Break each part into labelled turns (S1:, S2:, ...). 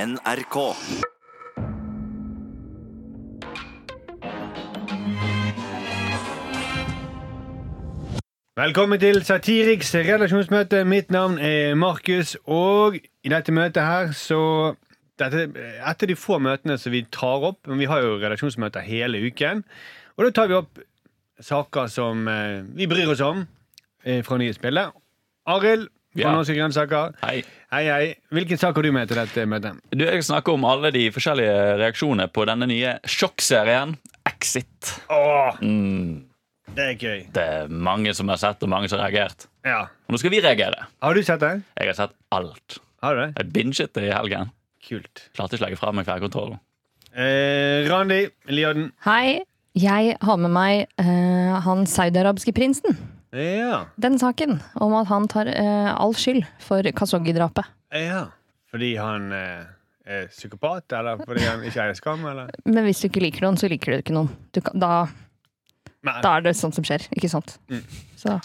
S1: NRK.
S2: Velkommen til Satiriks redaksjonsmøte. Mitt navn er Markus, og i dette møtet her så dette, Et av de få møtene som vi tar opp, men vi har jo redaksjonsmøter hele uken. Og da tar vi opp saker som eh, vi bryr oss om eh, fra nyhetsbildet. Arild fra
S3: Ja.
S2: Norske Grønnsaker.
S3: Hei.
S2: Hei, hei. Hvilken sak har du med til dette møtet?
S3: Du, jeg skal snakke om alle de forskjellige reaksjonene på denne nye sjokkserien Exit.
S2: Åh,
S3: Mm,
S2: det er gøy.
S3: det er mange som har sett, og mange som har reagert.
S2: Ja.
S3: Og nå skal vi reagere.
S2: Har du sett det?
S3: Jeg har sett alt.
S2: Har du det?
S3: Jeg binget det i helgen.
S2: Kult.
S3: Klarte ikke å legge fra meg fjernkontrollen.
S2: Eh, Randi Lioden.
S4: Hei, jeg har med meg eh, han saudiarabiske prinsen.
S2: Ja.
S4: Den saken om at han tar eh, all skyld for Khashoggi-drapet.
S2: Ja. Fordi han eh, er psykopat, eller fordi han ikke eier skam, eller?
S4: Men hvis du ikke liker noen, så liker du ikke noen. Du kan, da,
S2: Nei.
S4: da er det sånt som skjer, ikke sant? Så.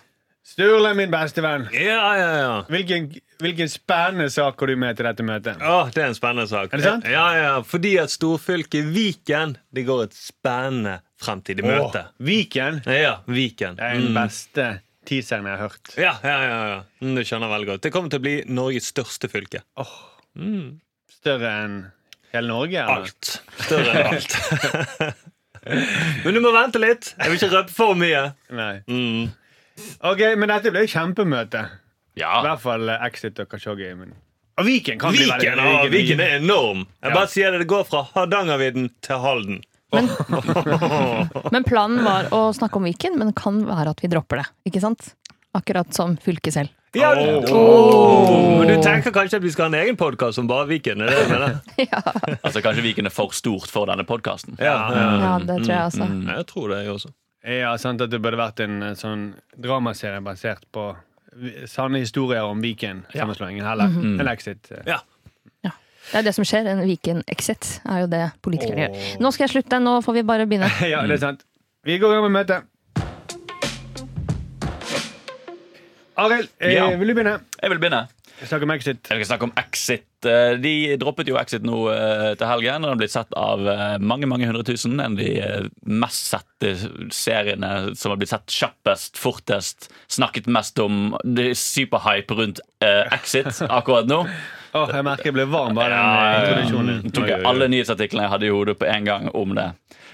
S2: Sturle, min beste venn.
S5: Ja, ja, ja.
S2: Hvilken, hvilken spennende sak har du med til dette møtet?
S5: Åh, det er en spennende sak.
S2: Er det sant?
S5: Ja, ja, Fordi at storfylket Viken Det går et spennende fremtid i møte.
S2: Åh, Viken
S5: Ja, Ja, Viken. Mm.
S2: er den beste teaseren jeg har hørt.
S5: Ja, ja, ja, ja. Mm, Du skjønner veldig godt. Det kommer til å bli Norges største fylke.
S2: Større enn hele Norge? eller?
S5: Alt. Større enn alt. Men du må vente litt. Jeg vil ikke røpe for mye.
S2: Nei.
S5: Mm.
S2: Ok, men dette ble jo kjempemøte. I
S3: Ja.
S2: hvert fall eh, Exit og Kashoggi. Men... Og Viken kan bli veldig
S5: Viken, ja, Viken er enorm. Jeg
S2: Ja.
S5: bare sier det. Det går fra Hardangervidden til Halden.
S4: Men planen var å snakke om Viken, men det kan være at vi dropper det. Ikke sant? Akkurat som fylket selv.
S5: Ja,
S2: Åh.
S5: Åh. Men du tenker kanskje at vi skal ha en egen podkast om bare Viken? Er det det du mener?
S3: Altså, kanskje Viken er for stort for denne podkasten.
S5: Ja, ja. Mm.
S4: Ja, det tror jeg altså.
S5: Nei, Jeg tror det, jeg også.
S2: Ja, sant at det burde vært en eh, sånn dramaserie basert på vi- sanne historier om Viken-sammenslåingen heller enn Exit. eh.
S5: Ja.
S4: Det er det som skjer. En Viken-exit er jo det politikere gjør. Nå skal jeg slutte. Nå får vi bare begynne.
S2: Ja, det er sant. Vi går i gang med møtet. Arild, eh,
S3: Ja.
S2: vil du begynne?
S3: Jeg vil begynne.
S2: Jeg snakker om Exit.
S3: Jeg skal snakke om Exit. Eh, De droppet jo Exit nå eh, til helgen. og Den har blitt sett av eh, mange mange hundre tusen. En av de eh, mest sette seriene som har blitt sett kjappest, fortest, snakket mest om. Det er superhype rundt eh, Exit akkurat nå.
S2: Åh, jeg merker jeg ble varm bare den eh,
S3: Ja,
S2: introduksjonen.
S3: jeg tok jeg alle nyhetsartiklene jeg hadde i hodet på en gang om det.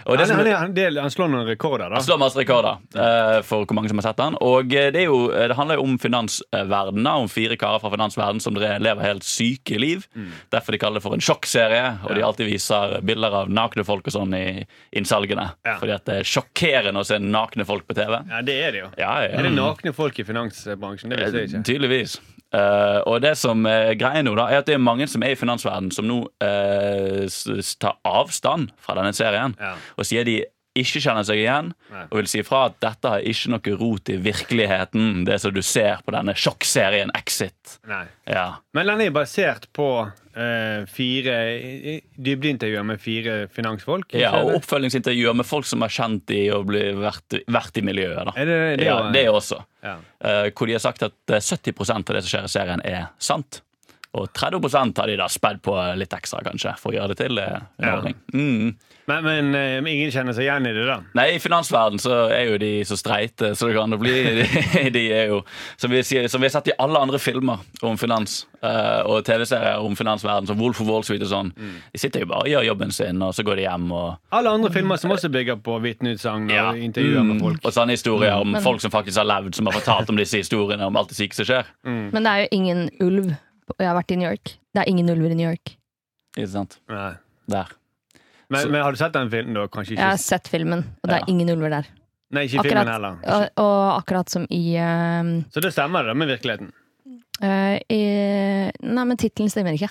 S3: Og det
S2: Han,
S3: som
S2: han, er- han, del- han slår noen rekorder, da.
S3: slår masse rekorder eh, for hvor mange som har sett den. Og eh, det, er jo, eh, det handler jo om finansverdenen, om fire karer fra finansverdenen som dre- lever helt syke liv.
S2: Mm.
S3: Derfor de kaller det for en sjokkserie, og de alltid viser bilder av nakne folk og sånn i innsalgene.
S2: Ja.
S3: Fordi at det er sjokkerende å se nakne folk på TV.
S2: Ja, det er det jo.
S3: Ja, ja.
S2: Er det nakne folk i finansbransjen? Det visste jeg ikke.
S3: Tydeligvis. Eh, og det som er greia nå, da, er at det er mange som er i finansverdenen som nå eh, s- s- tar avstand fra denne serien.
S2: Ja.
S3: Og sier de ikke kjenner seg igjen,
S2: Nei.
S3: og vil si fra at dette har ikke noe rot i virkeligheten, det som du ser på denne sjokkserien Exit.
S2: Nei.
S3: Ja.
S2: Men den er basert på eh, fire i- i- dybdeintervjuer med fire finansfolk.
S3: ja
S2: ikke
S3: og
S2: det?
S3: oppfølgingsintervjuer med folk som har kjent de og bli, vært, vært i miljøet. da
S2: Er det- det er
S3: ja,
S2: jo-
S3: det er også.
S2: Ja.
S3: Eh, hvor de har sagt at eh, 70 av det som skjer i serien, er sant. Og 30 har de da spedd på litt ekstra, kanskje, for å gjøre det til eh, underholdning. Mm.
S2: Men, men eh, men ingen kjenner seg igjen i det, da.
S3: Nei, i finansverden så er jo de så streite, så det kan jo bli de- De er jo, som vi, sier, som vi har sett i alle andre filmer om finans, eh, og TV-serier om finansverden, som Wolf of Wall Street og sånn, de sitter jo bare og gjør jobben sin, og så går de hjem og
S2: Alle andre filmer som også bygger på vitneutsagn og
S3: Ja.
S2: intervjuer med folk.
S3: Mm.
S2: Mm.
S3: Og sånne historier om folk som faktisk har levd, som har fortalt om disse historiene, om alt det syke som skjer.
S2: Mm,
S4: Men det er jo ingen ulv. Jeg har vært i New York. Det er ingen ulver i New York.
S3: Ikke sant?
S2: Nei.
S3: Der.
S2: Men,
S3: Så-
S2: men har du sett den filmen, da? Kanskje
S4: Jeg
S2: ikke
S4: har sett filmen, og det er
S3: Ja.
S4: ingen ulver der.
S2: Nei, ikke
S4: Akkurat.
S2: filmen heller.
S4: Og, og akkurat som i, ehm,
S2: Så det stemmer det da med virkeligheten.
S4: eh, i Nei, men tittelen stemmer ikke.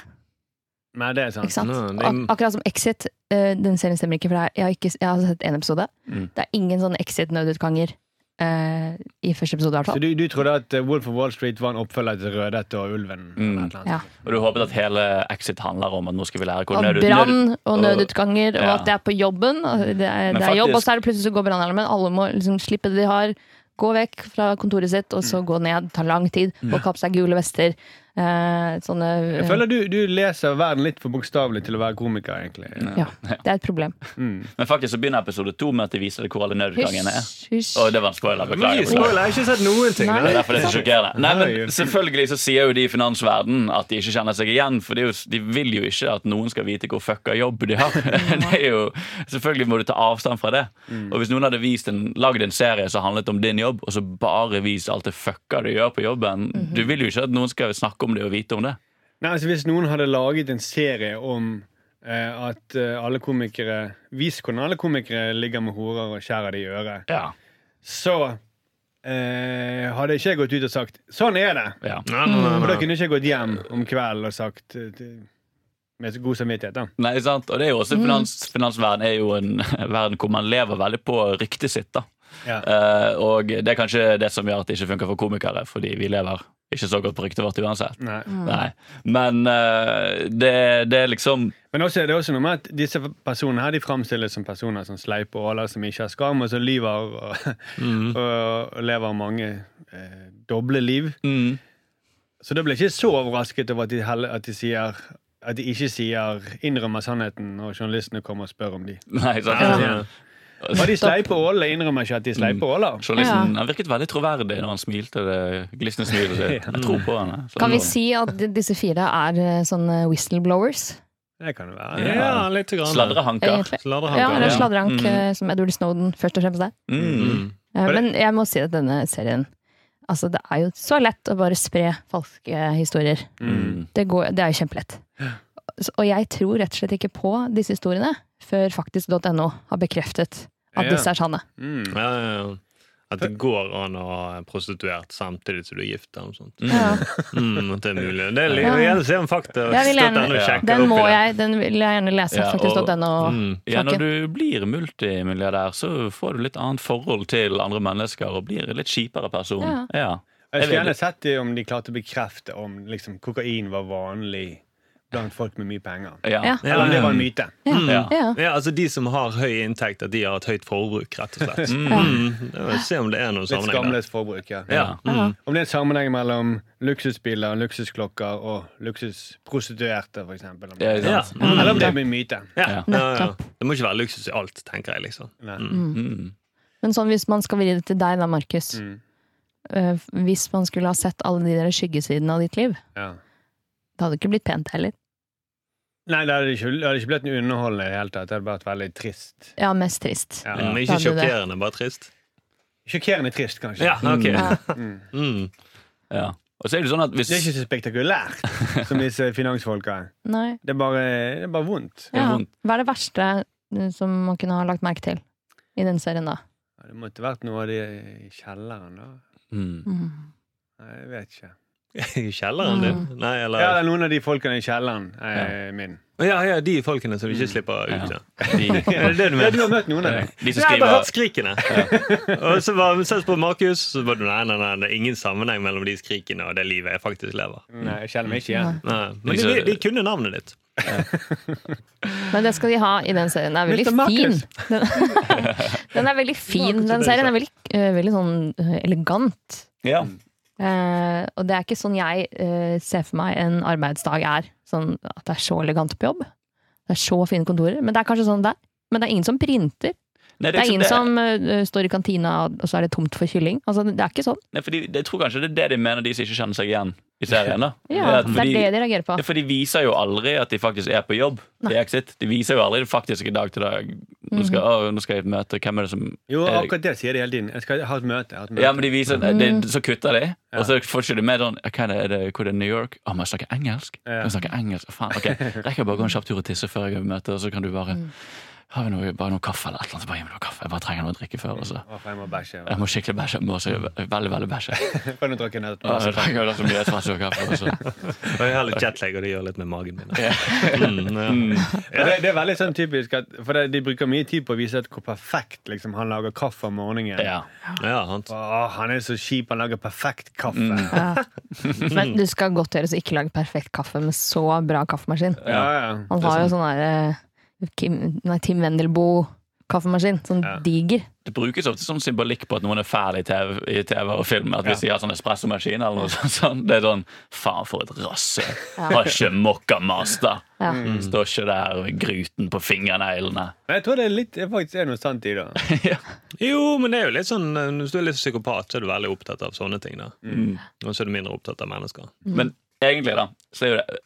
S2: Nei, det er
S4: Ikke
S2: sant.
S4: sant?
S5: Nei, det-
S4: Ak akkurat som Exit. eh, den serien stemmer ikke, for det er, jeg, har ikke, jeg har sett én episode.
S3: Mm.
S4: Det er ingen sånne Exit-nødutganger eh, i første episode, i
S2: Så
S4: hvert fall.
S2: du, du trodde at eh, Wolf of Wall Street var en oppfølger til Rødhette og Ulven?
S3: Mm.
S2: eller et eller annet?
S4: Ja.
S3: Og du håpet at hele Exit handler om at nå skal vi lære hvor
S4: Og
S3: nød- nød-
S4: brann og
S3: og-
S4: nødutganger, og
S3: Ja.
S4: at det er på jobben. og Det er, det er
S3: faktisk-
S4: jobb, og så er det plutselig så går brannalarmen. Alle må liksom slippe
S3: Mm.
S4: det de har, gå vekk fra kontoret sitt, og så gå ned. Det tar lang tid. Få kapp seg gule vester. Eh, sånne
S2: Jeg føler du, du leser verden litt for bokstavelig til å være komiker, egentlig.
S4: eh, Ja, det er et problem.
S3: Men faktisk så begynner episode to med at de viser deg hvor alle nødutgangene er.
S4: Hysj, hysj.
S3: Og det var en spoiler, beklager.
S5: Mye
S3: beklager.
S5: spoiler. Jeg har ikke sett noen ting.
S4: Nei.
S3: Det er
S5: Nei.
S3: derfor det er så sjokkerende. Nei,
S2: Nei.
S3: men Selvfølgelig så sier jo de i finansverden at de ikke kjenner seg igjen. For det er jo, de vil jo ikke at noen skal vite hvor fucka jobb de har. Det er jo, selvfølgelig må du ta avstand fra det. Og hvis noen hadde vist en, lagd en serie som handlet om din jobb, og så bare vist alt det fucka du gjør på jobben
S4: Mhm.
S3: Du vil jo ikke at noen skal snakke om det og vite om det.
S2: Nei, altså Hvis noen hadde laget en serie om eh, at eh, alle komikere Vis hvordan alle komikere ligger med horer og skjærer de i øret,
S3: Ja,
S2: så eh, hadde ikke jeg gått ut og sagt 'sånn er det'.
S3: ja.
S5: Nei, nei,
S2: For da
S5: nei, nei.
S2: kunne ikke jeg gått hjem om kvelden og sagt eh, til- med god samvittighet. da
S3: Nei, sant? Og det er jo
S4: Mm.
S3: også finans, finansverden er jo en verden hvor man lever veldig på ryktet sitt. da
S2: ja.
S3: Eh, og det er kanskje det som gjør at det ikke funker for komikere, fordi vi lever ikke så godt på ryktet vårt uansett.
S2: Nei.
S4: Mm.
S3: Nei. Men eh, det, det er liksom
S2: Men også, det er også noe med at disse personene her De fremstilles som personer som sleipe åler som ikke har skam, og som lyver og,
S5: Mm.
S2: og, og lever mange eh, doble liv.
S3: mm,
S2: Så da blir jeg ikke så overrasket over at de, heller- at de sier at de ikke sier innrømmer sannheten når journalistene kommer og spør om de.
S3: Nei, sant?
S5: Ja.
S2: Og de sleipe ålene innrømmer ikke at de er sleipe åler.
S3: Journalisten han virket veldig troverdig når han smilte. det glisne smilet sitt. Jeg tror på altså. henne.
S4: Kan vi si at d- disse fire er eh, sånne whistleblowers,
S2: Det kan det være.
S5: Ja, litt. grann.
S3: Sladrehanker.
S4: egentlig?
S5: Sladrehanker,
S4: Ja, det er
S3: ja.
S4: sladrehank,
S3: Mhm.
S4: eh, som Edward Snowden først og fremst er.
S3: Mm.
S5: Mm.
S4: Eh,
S2: Var det-
S4: Men jeg må si at denne serien Altså, det er jo så lett å bare spre falske historier.
S3: Mm.
S4: Det, går, det er jo kjempelett. Så- Og jeg tror rett og slett ikke på disse historiene før faktisk.no har bekreftet at
S2: Ja.
S4: disse er sanne.
S2: Mm.
S5: Ja, ja, ja. At det går an å ha prostituert samtidig som du er gift. Eller noe sånt.
S4: Ja.
S5: Mm, at det er mulig. Det er litt,
S4: Ja.
S5: jeg vil se om fakta
S4: Jeg vil gjerne-
S5: stått enda kjekkere
S4: Den
S5: opp i
S4: må
S5: det.
S4: jeg, den vil jeg gjerne lese.
S3: Ja, og-
S4: Faktisk.no.
S5: Mm.
S3: Ja, når du blir multimilliardær, så får du litt annet forhold til andre mennesker og blir en litt kjipere person.
S4: Ja.
S3: Ja.
S2: Jeg skulle gjerne sett det om de klarte å bekrefte om liksom, kokain var vanlig blant folk med mye penger.
S3: Ja.
S4: Ja.
S2: Eller om det var en myte.
S4: Ja.
S3: Ja.
S4: Ja.
S5: Ja, altså De som har høy inntekt, at de har et høyt forbruk, rett og slett. Mm. Det vil Se om det er noen
S2: Litt
S5: sammenheng der.
S2: skamløst forbruk, ja.
S3: Ja.
S5: Mm.
S4: Ja.
S2: Om det er en sammenheng mellom luksusbiler, luksusklokker og luksusprostituerte, for eksempel. Om
S3: Det
S2: det-
S3: er sant.
S5: Ja.
S2: Eller om det er en myte.
S5: Ja.
S3: Ja.
S5: Ja, ja. Det må ikke være luksus i alt, tenker jeg. liksom
S2: Nei.
S3: Mm.
S4: Men sånn hvis man skal vri det til deg da, Markus.
S2: Mm.
S4: Eh, Hvis man skulle ha sett alle de der skyggesidene av ditt liv,
S2: Ja.
S4: det hadde ikke blitt pent heller.
S2: Nei, det hadde ikke, det hadde ikke blitt underholdende i det hele tatt. Det hadde vært veldig trist.
S4: Ja, mest trist.
S2: Ja. Mm.
S5: Men
S4: Da
S5: ikke
S4: er det det.
S5: sjokkerende, bare trist.
S2: Sjokkerende trist, kanskje.
S5: Ja, ok
S4: Ja.
S2: Mm.
S5: mm.
S3: Ja. Og så er det sånn at hvis
S2: Det er ikke så spektakulært som disse finansfolka. er.
S4: Nei.
S2: Det er bare, det er bare vondt.
S3: er
S4: Ja.
S3: vondt.
S4: Hva er det verste eh, som man kunne ha lagt merke til i den serien, da?
S2: Ja, Det måtte vært noe av det i kjelleren, da.
S3: Mm.
S2: Nei, Jeg vet ikke.
S5: I kjelleren din? Nei, eller
S2: Ja,
S5: ja,
S2: eller noen av de folkene i kjelleren er min.
S5: ja, de folkene som du ikke slipper ut. Ja.
S3: De,
S5: Er det det du
S2: Ja, du
S5: mener?
S2: har møtt noen av dem.
S3: de som
S5: Ja, jeg har
S3: skriver
S5: hørt skrikene. Og så var vi på Markus, så var det nei, nei, nei, det er ingen sammenheng mellom de skrikene og det livet jeg faktisk lever.
S2: Nei, jeg kjenner meg ikke igjen.
S5: Nei. Men de, de kunne navnet ditt.
S4: Men det skal de ha i den serien. Den er veldig
S2: Mr.
S4: fin.
S2: Marcus.
S4: Den, den er veldig fin,
S5: Marcus og
S4: den serien. Den er veldig, eh, veldig sånn eh, elegant.
S3: ja.
S4: Eh, og det er ikke sånn jeg eh, ser for meg en arbeidsdag er. Sånn at det er så elegant på jobb. Det er så fine kontorer. Men det er kanskje sånn det er. Men det er ingen som printer.
S3: Nei,
S4: Det er
S3: ikke
S4: ingen
S3: det.
S4: som eh, står i kantina, og og så er det tomt for kylling. Altså, det er ikke sånn.
S3: Nei, fordi, Jeg tror kanskje det er det de mener, de som ikke kjenner seg igjen i serien. da
S4: Ja,
S3: At
S4: det er
S3: fordi,
S4: det de reagerer på.
S3: ja, For de viser jo aldri at de faktisk er på jobb. i Exit. De viser jo aldri det faktiske dag til dag. Nå skal,
S4: Mhm.
S3: å, nå skal jeg møte Hvem er det som
S2: Jo,
S3: er det?
S2: akkurat det sier de hele tiden. Jeg skal ha et møte. Jeg har et møte.
S3: Ja, men de viser, de, Så kutter de, og så får ikke de med sånn hva er det, er det, Hvor er det New York? Å, må jeg snakke engelsk? Kan jeg snakke engelsk? Faen, ok, Rekker jeg bare å gå en kjapp tur og tisse før jeg møter, og så kan du bare Har vi noe, bare noe kaffe eller et eller annet? Så Bare gi meg noe kaffe. Jeg bare trenger noe å drikke før. Og så.
S2: Å, for jeg må bæsje.
S3: Jeg må skikkelig bæsje. Jeg må også veldig, veldig bæsje.
S2: Kan du drikke en øl?
S3: Ja, så trenger jeg da så mye espresso og kaffe. og så-
S5: Og jeg har litt jetlag, og det gjør litt med magen min. Mm, ja.
S2: Ja, det, det er veldig sånn typisk at, For det, De bruker mye tid på å vise at hvor perfekt liksom, han lager kaffe om morgenen.
S3: Ja.
S5: ja, sant.
S2: Åh, han er så kjip, han lager perfekt kaffe.
S4: Mm, Men du skal godt gjøres å ikke lage perfekt kaffe med så bra kaffemaskin.
S2: Ja, ja.
S4: Han har jo sånn der eh, Kim, nei, Tim Wendelboe kaffemaskin. Sånn
S2: Ja.
S4: diger.
S3: Det brukes ofte som symbolikk på at noen er fæl i TV, i TV og film. At Hvis de har sånn espressomaskin eller noe sånt, sånn, det er sånn Faen, for et rasshøl.
S4: Ja.
S3: Har ikke mokka master.
S4: Ja.
S3: Står ikke der med gruten på fingerneglene.
S2: Men jeg tror det er litt, det faktisk er noe sant i det.
S3: ja.
S5: Jo, men det er jo litt sånn eh, Hvis du er litt psykopat, så er du veldig opptatt av sånne ting. da Og så er du mindre opptatt av mennesker.
S3: Men egentlig, da, så er jo det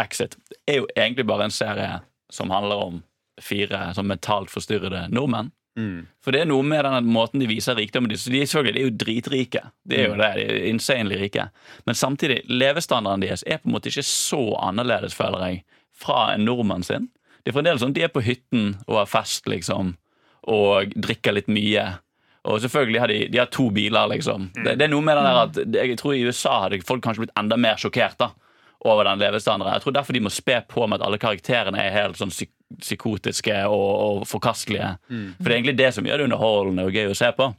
S3: Exit er jo egentlig bare en serie som handler om fire sånn mentalt forstyrrede nordmenn.
S2: Mm.
S3: For det er noe med den måten de viser rikdommen de, de, er selvfølgelig, de er jo dritrike. De er jo det, de er insanely rike. Men samtidig, levestandarden deres er på en måte ikke så annerledes, føler jeg, fra en nordmann sin. Det er fremdeles sånn, De er på hytten og har fest, liksom, og drikker litt mye. Og selvfølgelig har de, de har to biler, liksom. Det, det er noe med den der at det- Jeg tror i USA hadde folk kanskje blitt enda mer sjokkert da, over den levestandarden. Jeg tror derfor de må spe på med at alle karakterene er helt sånn psyk psykotiske og, og forkastelige. For det er egentlig det som gjør det underholdende og gøy å se på.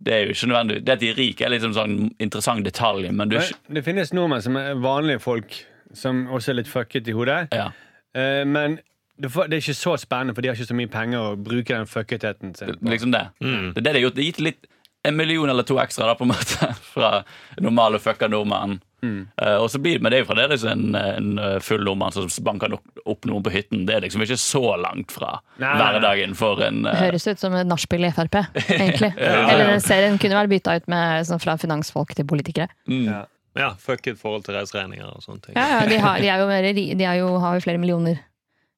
S3: Det er jo ikke nødvendig Det at de er rike, er litt sånn- sånn interessant detalj, men du er
S2: Men
S3: ikke
S2: det finnes nordmenn som er vanlige folk, som også er litt fucket i hodet.
S3: ja.
S2: Eh, men det får- det er ikke så spennende, for de har ikke så mye penger å bruke den fucketheten sin. på.
S3: Liksom det.
S2: Mm.
S3: Det er det de har gjort. Det har gitt litt en million eller to ekstra da, på en måte, fra normale fucka nordmenn.
S2: Mm.
S3: Eh, og så blir, men det er jo fremdeles en, en eh, full nordmann som banker nok, opp noen på hytten. Det er liksom ikke så langt fra
S2: Nei.
S3: hverdagen for en
S4: Det
S3: eh,
S4: høres ut som et nachspiel i Frp, egentlig. Eller den serien kunne vært bytta ut med sånn fra finansfolk til politikere.
S3: mm.
S2: Ja.
S5: Ja, Fuck it forhold til reiseregninger og sånne ting.
S4: Ja, ja, de, har, de, er jo mer, ri- de er jo, har jo flere millioner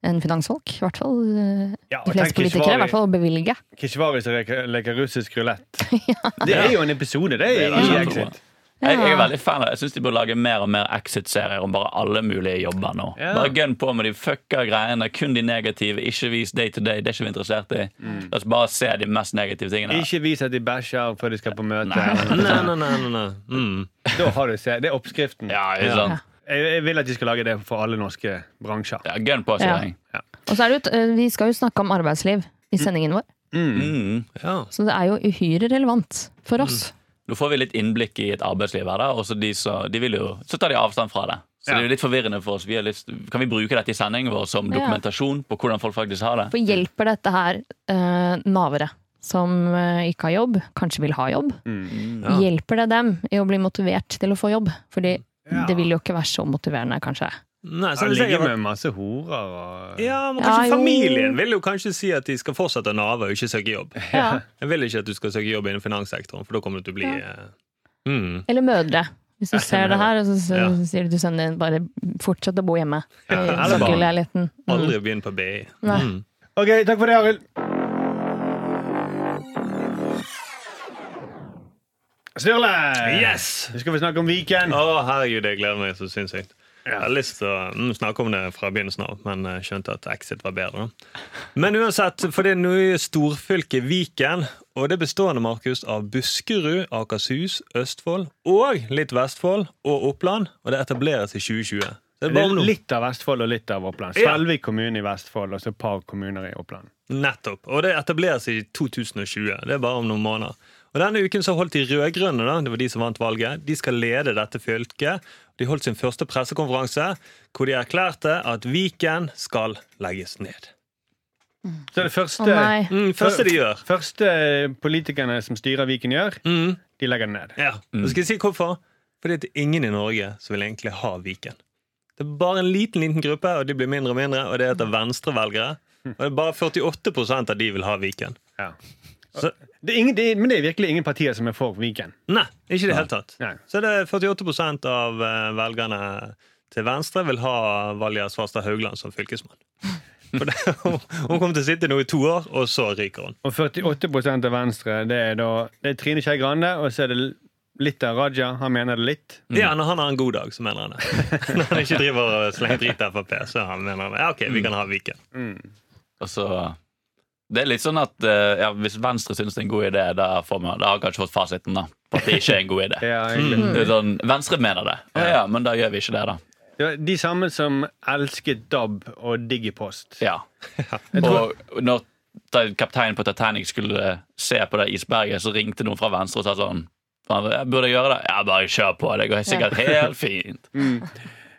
S4: enn finansfolk, i hvert fall. eh,
S2: Ja, og
S4: De fleste
S2: tenk ikke
S4: politikere,
S2: svaret-
S4: i hvert fall å bevilge.
S2: Keshvari som leker, leker russisk rulett. Det er jo en episode, det, er
S3: det
S2: i
S3: er det.
S2: Exit.
S3: Jeg, jeg er
S4: Ja.
S3: veldig fan av det. Jeg syns de bør lage mer og mer Exit-serier om bare alle mulige jobber nå.
S2: Ja.
S3: Bare gønn på med de fucka greiene, kun de negative. Ikke vis day to day, det er ikke vi interessert i. La oss bare se de mest negative tingene.
S2: Mm. Ikke vis at de bæsjer før de skal på møte.
S5: Nei, nei, nei, nei, nei. Mm.
S2: Da har du se. Det er oppskriften.
S3: Ja, ikke sant?
S2: Jeg, jeg vil at de skal lage det for alle norske bransjer.
S3: Ja, gønn på,
S4: Ja.
S3: sier jeg.
S4: Og så er det jo, et- eh, Vi skal jo snakke om arbeidsliv i sendingen vår,
S3: Mm.
S5: Ja.
S4: så det er jo uhyre relevant for oss.
S3: Nå får vi litt innblikk i et arbeidsliv her, da, og så, de som- de vil jo, så tar de avstand fra det. Så
S2: Ja.
S3: det er jo litt forvirrende for oss. Vi har lyst, kan vi bruke dette i sendingen vår som
S4: Ja.
S3: dokumentasjon på hvordan folk faktisk har det?
S4: For hjelper dette her eh, navere som eh, ikke har jobb, kanskje vil ha jobb?
S5: Ja.
S4: Hjelper det dem i å bli motivert til å få jobb? Fordi
S2: Ja.
S4: det vil jo ikke være så motiverende, kanskje.
S5: Nei, så
S2: Han
S5: hvis jeg
S2: ligger med
S5: hadde-
S2: masse horer og
S5: Ja, men
S4: Ja,
S5: kanskje
S4: jo.
S5: Familien vil jo kanskje si at de skal fortsette å nave og ikke søke jobb.
S4: Ja.
S5: Jeg vil ikke at du skal søke jobb innen finanssektoren, for da kommer du til å bli eh, mm.
S4: Eller mødre. Hvis du ser det her, og så, så,
S5: Ja.
S4: sier du til sønnen din bare fortsett å bo hjemme. I
S5: eller barn.
S4: sokkelleiligheten.
S5: Aldri begynn på BI.
S4: Nei.
S5: Mm.
S2: OK, takk for det, Arild. Sturle!
S5: Yes!
S2: Nå skal vi snakke om Viken.
S5: Å, herregud, jeg gleder meg så sinnssykt. Jeg hadde lyst til å mm, snakke om det fra begynnelsen av, men eh, skjønte at Exit var bedre. da. Men uansett, for det er nye storfylket Viken, og det bestående Markus, av Buskerud, Akershus, Østfold og litt Vestfold og Oppland, og det etableres i 2020. Det er
S2: Det
S5: bare
S2: er
S5: om noe.
S2: litt av Vestfold og litt av Oppland.
S5: Ja.
S2: Svelvik kommune i Vestfold og så et par kommuner i Oppland.
S5: Nettopp. Og det etableres i 2020. Det er bare om noen måneder. Og Denne uken så holdt de rød-grønne, da, det var de som vant valget, de skal lede dette fylket. De holdt sin første pressekonferanse hvor de erklærte at Viken skal legges ned.
S2: Så det første,
S4: Å nei.
S5: Mm, første de gjør.
S2: første politikerne som styrer Viken, gjør,
S5: Mm,
S2: de legger den ned.
S5: ja. Og skal jeg si hvorfor? Fordi det er ingen i Norge som vil egentlig ha Viken. Det er bare en liten liten gruppe, og de blir mindre og mindre, og det heter venstrevelgere. Og det er bare 48 av de vil ha Viken.
S2: Ja.
S5: Så,
S2: Det er ingen, det er, men det er virkelig ingen partier som er for Viken.
S5: Nei, ikke i det hele tatt.
S2: Nei.
S5: Så det er 48 av eh, velgerne til Venstre vil ha Valja Svarstad Haugland som fylkesmann. For det, hun hun kommer til å sitte nå i to år, og så ryker hun.
S2: Og 48 av Venstre, det er da det er Trine Skei Grande, og så er det litt av Raja. Han mener det litt.
S5: Ja, Når han har en god dag, så mener han det. Når han ikke driver og slenger drit til Frp, så han mener han ja, ok, vi kan ha Viken.
S3: Og så, det er litt sånn at eh, ja, hvis Venstre syns det er en god idé, da, får man, da har jeg kanskje fått fasiten da, på at det ikke er en god idé.
S2: Ja, egentlig.
S4: Mm.
S3: Det er sånn, Venstre mener det. Å ja, men da gjør vi ikke det, da.
S2: Det var de samme som elsket DAB og Digipost.
S3: Ja. Og når ta- kapteinen på Titanic skulle eh, se på det isberget, så ringte noen fra venstre og sa sånn «Faen, jeg Burde jeg gjøre det? Ja, bare kjør på. Det går sikkert
S2: Mm.
S3: helt fint.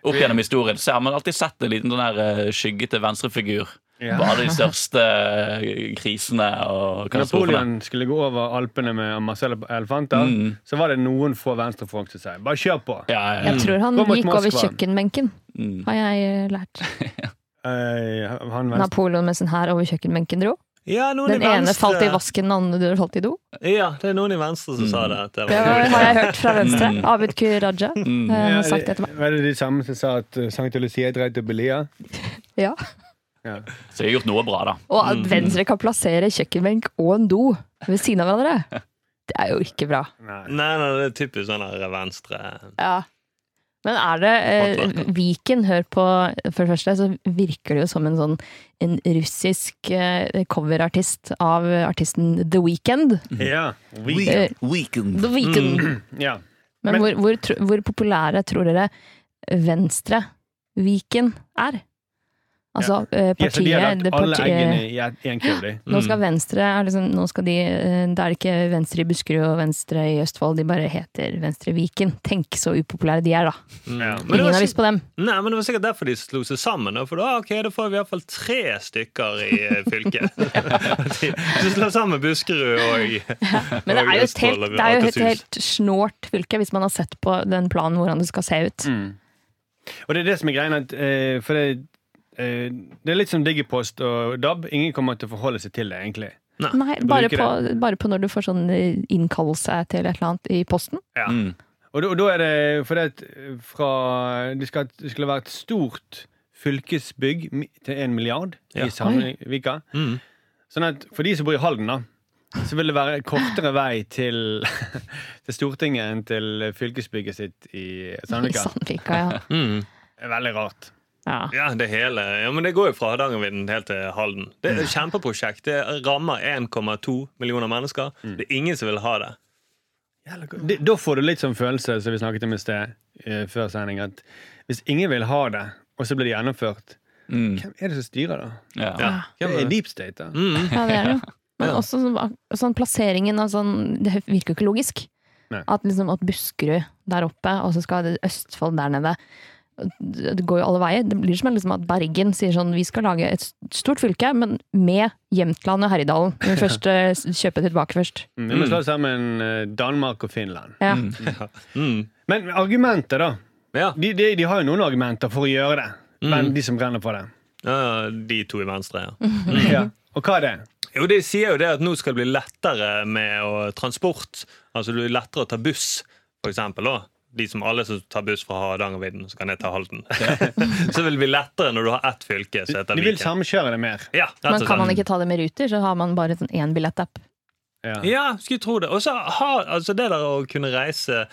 S3: Opp gjennom historien så har man alltid sett en liten sånn her eh, skyggete venstrefigur
S2: Ja.
S3: Bare de største eh, krisene og katastrofene.
S2: Napoleon skulle gå over Alpene med Marcel Elefanta,
S3: Mm.
S2: så var det noen få venstrefolk som sa bare kjør på.
S3: Ja, ja,
S4: Jeg
S3: ja.
S4: tror han
S2: Gå mot
S4: gikk over
S2: Moskva.
S4: kjøkkenbenken,
S3: Mm.
S4: har jeg eh, lært.
S2: Eh, han venstre.
S4: Napoleon med sin hær over kjøkkenbenken dro.
S5: Ja, noen
S4: Den
S5: i
S4: ene
S5: venstre.
S4: falt i vasken, den andre falt i do.
S5: Ja, det er noen i venstre som
S3: Mm.
S5: sa det. At det
S4: Det
S5: var
S4: var- har jeg hørt fra venstre.
S3: Mm.
S4: Abid Q. Raja eh,
S3: Mm.
S4: har
S2: Ja,
S4: sagt dette.
S2: Var det de samme som sa at eh, Sankta Lucia dreit til Belia?
S4: Ja.
S2: Ja.
S3: Så jeg har gjort noe bra, da.
S4: Og
S2: Mm.
S4: at Venstre kan plassere kjøkkenbenk og en do ved siden av hverandre. Det er jo ikke bra.
S2: Nei.
S5: Nei, nei, det er typisk sånn der venstre
S4: Ja. Men er det eh, Viken, hør på For det første så virker det jo som en sånn en russisk eh, coverartist av artisten The Weeknd.
S2: Ja.
S4: Eh, The Weeknd.
S2: ja.
S4: Men,
S2: Mm. Men-
S4: hvor, hvor, tro- hvor populære tror dere Venstre-Viken er? Altså eh,
S2: Ja, så
S4: partiet
S2: de har lagt
S4: det
S2: alle
S4: partiet-
S2: eggene i et- en kurv, de.
S4: Nå skal Venstre er liksom, nå skal de, eh, Da er det ikke Venstre i Buskerud og Venstre i Østfold, de bare heter Venstre Viken. Tenk så upopulære de er, da.
S2: Ja.
S5: Men det
S4: Ingen
S5: var
S4: har
S5: sikk-
S4: lyst på dem.
S5: Nei, men det var sikkert derfor de slo seg sammen. da, For da, ok, da får vi iallfall tre stykker i eh, fylket. de, de slår sammen Buskerud og
S4: Men det
S5: og
S4: er jo et
S5: Østfold
S4: helt,
S5: og
S4: det er jo et
S5: Akershus.
S4: helt snålt fylke, hvis man har sett på den planen hvordan det skal se ut.
S2: Og det er det som er greia, at, eh, for det, eh, det er litt som Digipost og DAB. Ingen kommer til å forholde seg til det, egentlig.
S4: Nei, bare
S2: bruker
S4: på, bare på når du får sånn eh, innkallelse til et eller annet i posten.
S2: Ja.
S3: Mm.
S2: Og da- og da er det fordi at eh, fra Det skal, det skulle være et stort fylkesbygg mi- til en milliard
S5: Ja.
S2: i Sandvika.
S5: Mm.
S2: Sånn at for de som bor i Halden, da, så vil det være kortere vei til, til Stortinget enn til fylkesbygget sitt i
S4: I
S5: sånn.
S2: Sandvika.
S4: Sandvika, ja.
S5: Mm.
S2: Det er Veldig rart.
S4: ja.
S5: Ja, det hele. Ja, men det går jo fra Hardangervidda helt til Halden. Det er et kjempeprosjekt. Det rammer 1,2 millioner mennesker. Det er ingen som vil ha det.
S2: Det, da får du litt sånn følelse som vi snakket om i sted, eh, før sending, at hvis ingen vil ha det, og så blir det gjennomført,
S3: Mm.
S2: hvem er det som styrer da?
S3: Ja. Mm.
S5: Ja.
S4: Ah.
S2: Det
S5: Hvem er
S2: er
S5: det?
S2: deep state, da.
S5: Mm.
S4: Ja, det er det jo. Men
S5: Ja.
S4: også sånn, sånn plasseringen av sånn Det virker jo ikke logisk.
S2: Nei.
S4: At, liksom, at Buskerud der oppe, og så skal det Østfold der nede. Det det går jo alle veier. Det blir som liksom at Bergen sier sånn Vi skal lage et stort fylke, men med Jämtland og Herjedalen. Vi må først eh, s- kjøpe tilbake først.
S2: Mm, Vi må slå sammen eh, Danmark og Finland.
S4: Ja.
S5: Mm.
S2: Men argumenter, da.
S5: Ja.
S2: De, de, de har jo noen argumenter for å gjøre det,
S5: Mm.
S2: men de som brenner for det.
S5: Ja, de to i venstre, ja.
S2: Ja. Og hva er det?
S5: Jo, De sier jo det at nå skal det bli lettere med å, transport. Altså det blir lettere å ta buss, for eksempel. Da. De som alle som tar buss fra Hardangervidda, så kan jeg ta Halden. så vil det bli lettere når du har ett fylke som heter
S2: De vil
S5: Viken.
S2: samkjøre det mer.
S5: Ja, sånn- rett og
S4: Men kan
S5: slett.
S4: man ikke ta det med Ruter, så har man bare sånn én billettapp.
S2: Ja.
S5: Ja, skulle tro det. Og så har altså det der å kunne reise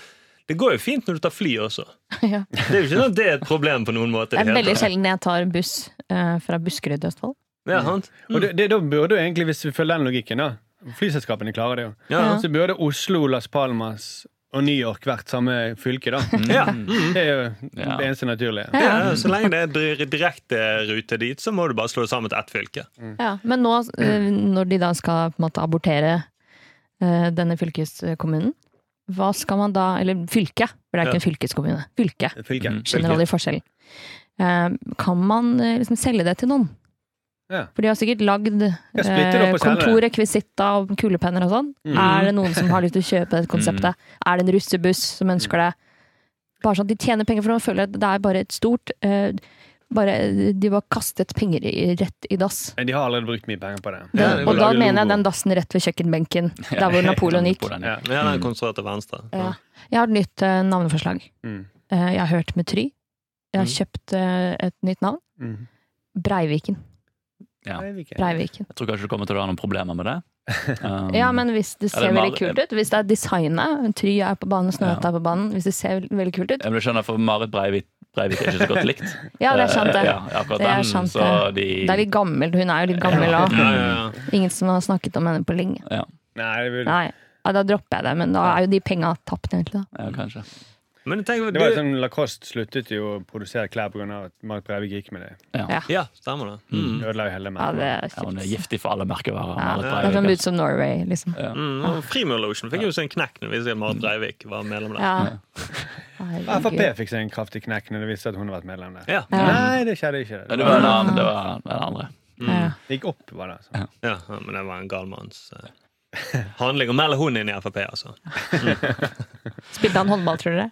S5: Det går jo fint når du tar fly også.
S4: ja.
S5: Det er jo ikke sånn at det er et problem på noen måte.
S4: Det
S5: i
S4: er
S5: det hele
S4: veldig
S5: tatt.
S4: sjelden jeg tar buss eh, fra Buskerud til Østfold.
S5: Ja, sant?
S2: Og det, det, da burde jo egentlig, hvis vi følger den logikken, da Flyselskapene klarer det jo.
S5: Ja.
S2: Så burde Oslo, Las Palmas og New York vært samme fylke, da.
S5: Ja.
S2: Det er jo
S3: Ja.
S2: det eneste naturlige.
S5: Ja, så lenge det er dir- direkte rute dit, så må du bare slå det sammen til ett fylke.
S4: Ja, men nå, eh, når de da skal på en måte abortere eh, denne fylkeskommunen, hva skal man da Eller fylket, for det er ikke en fylkeskommune. Fylke.
S2: Fylke.
S4: Generell forskjell. Eh, Kan man eh, liksom selge det til noen?
S2: Ja.
S4: For de har sikkert lagd
S2: Ja, splitte det
S4: eh,
S2: opp og Mm. selge det.
S4: kontorrekvisitter og kulepenner og sånn. Er det noen som har lyst til å kjøpe dette
S2: Mm.
S4: konseptet? Er det en russebuss som ønsker det? Bare sånn at de tjener penger, for de føler at det er bare et stort eh, bare, De bare kastet penger i, rett i dass.
S2: Nei, De har allerede brukt mye penger på det.
S4: Den,
S5: Ja, det
S4: og
S5: vil
S4: da
S2: lage
S4: mener jeg
S2: logo.
S4: den dassen rett ved kjøkkenbenken, der hvor Napoleon gikk.
S2: Ja.
S5: Ja, den er konstruert til venstre.
S4: Ja. Jeg har et nytt eh, navneforslag.
S2: Mm.
S4: Eh, jeg har hørt med Try. Jeg har kjøpt eh, et nytt navn.
S2: Mhm.
S4: Breiviken.
S3: Ja.
S2: Breivik, ja.
S4: Breiviken.
S3: Jeg tror kanskje du kommer til å ha noen problemer med det. Um,
S4: Ja, men hvis det
S3: Ja,
S4: ser
S3: det er
S4: veldig
S3: mal-
S4: kult ut, hvis det er designet Try er på banen, Snøhette
S3: Ja.
S4: er på banen, hvis det ser vel- veldig kult ut
S3: Jeg vil skjønne, for Marit Breivik, Breivik er ikke så godt likt.
S4: Ja, det er sant, det.
S3: Eh, Ja, akkurat
S4: Det er
S3: den,
S4: sant,
S3: så de,
S4: Det er litt gammel, hun er jo litt gammel òg.
S5: Ja, ja, ja.
S4: Ingen som har snakket om henne på lenge.
S3: ja,
S2: Nei, det vil-
S4: Nei, ja, da dropper jeg det, men da er jo de penga tapt, egentlig. Da.
S3: ja, kanskje.
S5: Men tenk,
S2: Det var jo
S5: du,
S2: sånn, Lacoste sluttet jo å produsere klær pga. at Mark Breivik gikk med det.
S5: ja, stemmer det. Mm.
S2: Ødela jo hele
S4: Ja,
S2: merket.
S4: det er
S3: Ja, hun er
S4: kjipt.
S3: giftig for alle merkevarer.
S4: Ja,
S3: Marit
S4: det
S3: Breivik,
S4: er sånn
S3: altså.
S4: Boots of Norway, liksom.
S5: Mm, og Frimurlosjen fikk jo seg en knekk når vi ser Marit Breivik var medlem der.
S4: Ja.
S2: Frp fikk seg en kraftig knekk når det viste at hun har vært medlem der.
S5: Ja.
S4: Ja.
S2: Nei, det skjedde ikke.
S3: Men det var en annen. Det var den andre.
S4: Ja.
S2: Det gikk opp, var det. altså.
S5: Ja, ja, men det var en gal manns eh, handling å melde hun inn i Frp, altså.
S4: Spilte han håndball, tror dere?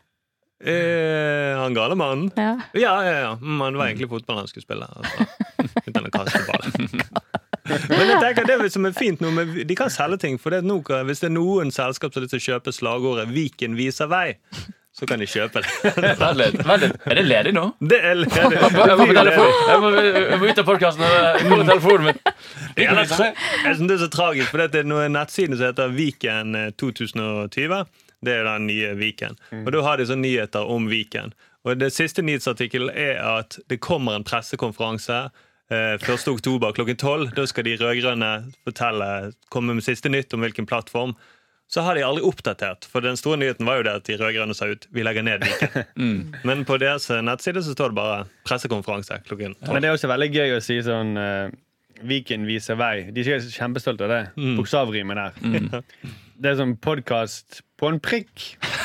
S5: Eh, han gale mannen?
S4: Ja.
S5: Ja, ja, ja. Men det var egentlig fotball han skulle spille. Altså. Uten å kaste ballen. Men jeg tenker det er vel som er fint nå, men De kan selge ting. for det er nå, Hvis det er noen selskap som har lyst til å kjøpe slagordet 'Viken viser vei', så kan de kjøpe det.
S3: Vent litt, vent litt. Er det ledig nå?
S5: Det er ledig.
S3: Jeg må, på
S5: Det er
S3: telefon. jeg må, jeg må ut av podkasten. Hvor er telefonen min?
S5: Ja, det er så- jeg synes det er så tragisk, for det er noen nettsider som heter Viken eh, 2020. Det er den nye Viken. Og da har de sånne nyheter om Viken. Og det siste nyhetsartikkelen er at det kommer en pressekonferanse eh, 1. oktober klokken 12. Da skal de rød-grønne fortelle, komme med siste nytt om hvilken plattform. Så har de aldri oppdatert, for den store nyheten var jo det at de rød-grønne sa ut vi legger ned Viken. Men på deres eh, nettside så står det bare pressekonferanse klokken 12.
S2: Men det er også veldig gøy å si sånn eh, Viken viser vei. De er sikkert kjempestolte av det. Bokstavrimet der. Det er sånn podkast på en prikk.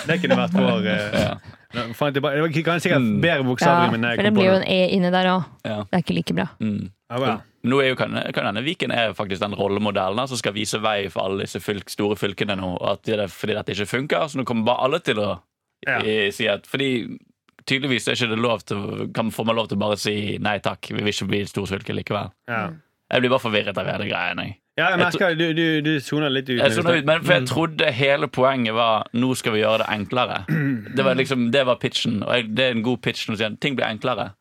S2: Det kunne vært vår eh, nå fant jeg bare- Det var kanskje sikkert bedre
S4: ja.
S2: bokstavrim enn jeg
S4: For det
S2: kom på.
S4: blir jo
S2: nå.
S4: en Mm. E inni der òg.
S3: Ja.
S4: Det er ikke like bra.
S2: Ja, bra.
S3: Nå er jo kan, kan hende Viken er faktisk den rollemodellen da, som skal vise vei for alle disse fylk, store fylkene nå. og At det er fordi dette ikke funker, så nå kommer bare alle til å
S2: Ja.
S3: eh, si at Fordi tydeligvis er ikke det lov til kan, Får man lov til å bare si nei takk, vi vil ikke bli et stort fylke likevel.
S2: Ja.
S3: Jeg blir bare forvirret av hele greia. Jeg.
S2: ja, jeg merker du, du, du soner litt ut.
S3: Jeg, sånn ut, men
S2: Mm.
S3: for jeg trodde hele poenget var nå skal vi gjøre det enklere. Det var liksom, det var pitchen, og jeg, det er en god pitch når du sier ting blir enklere.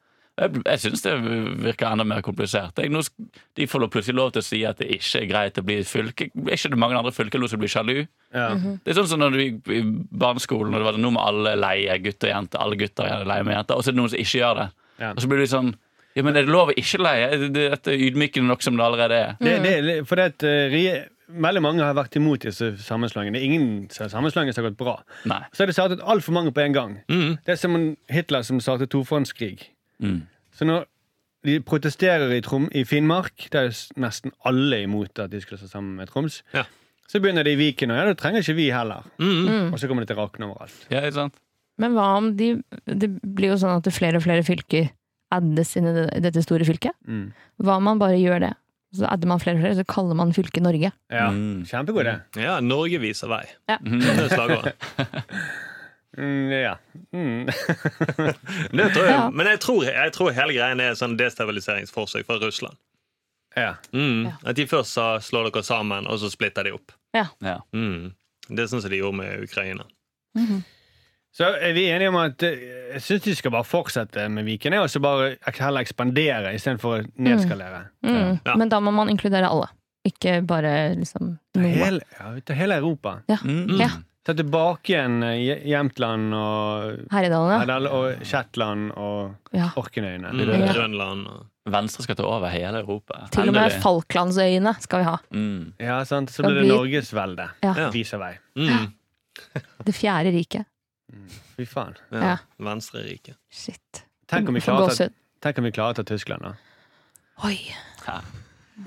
S3: Jeg, jeg syns det virker enda mer komplisert. Jeg, nå, sk- de får lov- plutselig lov til å si at det ikke er greit å bli et fylke. Er ikke det mange andre fylker nå som blir sjalu?
S2: Ja.
S4: Mhm.
S3: Det er sånn som når du gikk i barneskolen, og det var sånn, nå må alle leie gutter og jenter, alle gutter er leie med jenter, og så er det noen som ikke gjør det.
S2: Ja.
S3: Og så blir du sånn Ja, men er det lov å ikke leie? Er det- Dette er ydmykende nok som det allerede er.
S2: Det, det, er litt- for det at, eh, regje- veldig mange har vært imot disse sammenslåingene. Det er Ingen sammenslåinger som har gått bra.
S3: Nei.
S2: Så har de startet altfor mange på en gang. Det er som en Hitler som startet tofrontskrig.
S3: Mm.
S2: Så når de protesterer i, Trom, i Finnmark, der er s- nesten alle imot at de skulle stå sammen med Troms,
S5: Ja.
S2: så begynner de i Viken, og ja, det trenger ikke vi heller. Og så kommer det til Rakne overalt.
S3: Ja, ikke sant?
S4: Men hva om de Det blir jo sånn at flere og flere fylker addes inn i det- dette store fylket.
S2: Mm.
S4: Hva om man bare gjør det? Så adder man flere og flere, så kaller man fylket Norge.
S2: Ja,
S3: Mm.
S2: Kjempegod idé.
S5: Ja, Norge viser vei.
S4: Ja.
S5: Det er slagordet.
S2: Mm, ja. Mm.
S5: Det tror jeg.
S4: Ja.
S5: Men jeg tror, jeg tror hele greien er sånn destabiliseringsforsøk fra Russland.
S2: ja.
S5: Mm.
S4: Ja.
S5: At de først sa 'slå dere sammen', og så splitter de opp.
S3: Ja.
S5: Mm. Det er sånn som de gjorde med Ukraina.
S2: Så er vi enige om at eh, jeg syns de skal bare fortsette med Viken, og så bare ek- heller ekspandere istedenfor å nedskalere.
S4: Mm.
S5: Ja.
S4: Men da må man inkludere alle, ikke bare liksom noe.
S2: Hele, ja, vi tar hele Europa.
S3: Mm.
S4: Ja.
S2: Ta tilbake igjen eh, Je- Jämtland og
S4: Herredalen,
S2: Hedal og Shetland og
S4: ja. ja.
S2: Orknøyene.
S5: Mm.
S4: Ja.
S5: Grønland og
S3: Venstre skal ta over hele Europa.
S4: Til og med
S3: Endelig.
S4: Falklandsøyene skal vi ha.
S3: Mm.
S2: Ja, sant? Så
S4: Da
S2: blir det
S4: blir-
S2: Norgesvelde.
S4: Ja.
S5: Ja.
S2: Viser vei.
S5: mm.
S4: Det fjerde riket.
S2: Fy faen.
S5: ja.
S4: Ja.
S5: Venstreriket.
S4: Shit.
S2: Tenk om vi
S4: Får
S2: klarer å ta,
S4: gåsehud.
S2: tenk om vi klarer å ta Tyskland, da.
S4: Oi.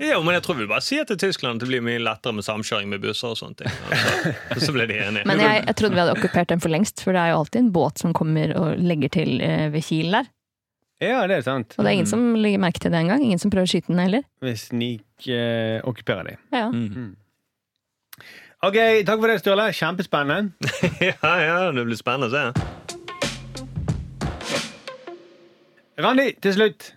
S5: Jo, men jeg tror vi bare sier til Tyskland at det blir mye lettere med samkjøring med busser og sånne ting. Og så, og så blir de enige.
S4: Men jeg, jeg trodde vi hadde okkupert den for lengst, for det er jo alltid en båt som kommer og legger til eh, ved Kiel der.
S2: Ja, det er sant.
S4: Og det er ingen som legger merke til det engang. Ingen som prøver å skyte den heller.
S2: Vi snikokkuperer eh, de.
S4: Ja, ja.
S3: Mm.
S2: OK, takk for det, Sturle. Kjempespennende.
S5: Ja, ja, det blir spennende å se.
S2: Randi, til slutt.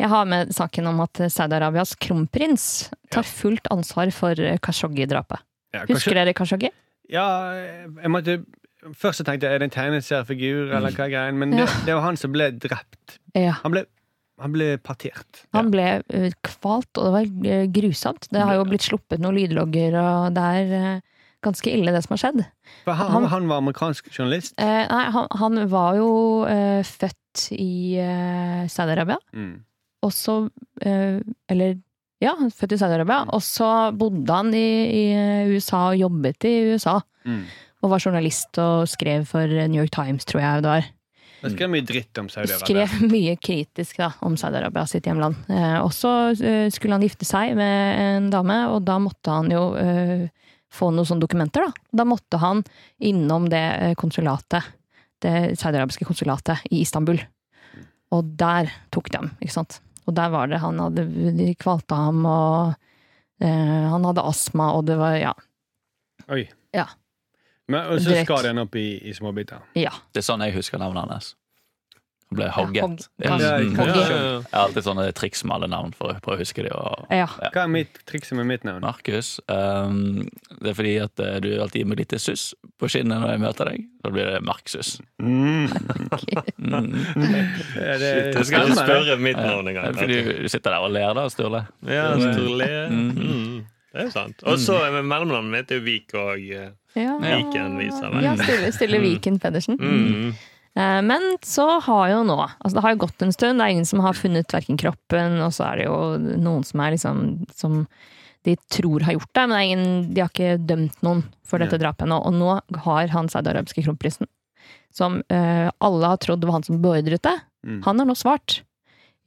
S4: Jeg har med saken om at eh, Saudi-Arabias kronprins tar fullt ansvar for eh, Khashoggi-drapet.
S2: Ja,
S4: Husker dere Khashoggi?
S2: Ja, eh, jeg måtte Først så tenkte jeg er det en
S4: Mm.
S2: tegneseriefigur, eller hva er greien? Men det, det var han som ble drept.
S4: Ja.
S2: Han ble, han ble partert.
S4: Han ble eh, kvalt, og det var eh, grusomt. Det har jo blitt sluppet noen lydlogger, og det er eh, ganske ille det som har skjedd.
S2: For han,
S4: Han-
S2: han var amerikansk journalist.
S4: Eh, Nei, han, han var jo eh, født i eh, Saudi-Arabia.
S2: Mm.
S4: og så eh, Eller ja, han er født i Saudi-Arabia. Og så bodde han i, i eh, USA og jobbet i USA.
S2: Mm.
S4: Og var journalist og skrev for New York Times, tror jeg det var.
S2: Jeg skrev mye dritt om Saudi-Arabia.
S4: Skrev mye kritisk da, om Saudi-Arabia, sitt hjemland. Eh, og så eh, skulle han gifte seg med en dame, og da måtte han jo eh, få noen sånne dokumenter. Da Da måtte han innom det eh, konsulatet, det saudiarabiske konsulatet i Istanbul. Og der tok de, ikke sant. Og der var det han hadde De kvalte ham, og eh, han hadde astma, og det var Ja.
S2: Oi.
S4: Ja.
S2: Men, og så
S4: Drekt.
S2: skar de den opp i, i småbiter.
S4: ja.
S3: Det er sånn jeg husker navnet hans. Han ble hogget.
S4: Ja,
S3: Ja,
S4: hogg.
S2: Ja,
S3: mm.
S2: hogg.
S3: Jeg har alltid sånne triks med alle navn for å prøve å huske dem. Og
S4: ja.
S2: Hva er mitt trikset med mitt navn?
S3: Markus, ehm, det er fordi at eh, du alltid gir meg litt suss på kinnet når jeg møter deg. Da blir det Marksus. Mm.
S2: Er det,
S5: Shit, jeg skal ikke
S2: stemmer det?
S5: spørre mitt navn
S3: Det er
S5: engang.
S3: Fordi du sitter der og ler, da, Sturle.
S5: Ja, Sturle. Mm. Det er jo sant. Og så er mellomnavnet mitt er jo Vik og eh,
S4: ja.
S5: Viken viser vei.
S4: Ja, Sturle, Sturle Viken Pedersen.
S5: Mm.
S4: Eh, Men så har jo nå altså Det har jo gått en stund, det er ingen som har funnet verken kroppen, og så er det jo noen som er liksom Som de tror har gjort det, men det er ingen, de har ikke dømt noen for dette drapet ennå. Og nå har han saudiarabiske kronprinsen, som eh, alle har trodd var han som beordret det,
S2: Mm.
S4: han har nå svart.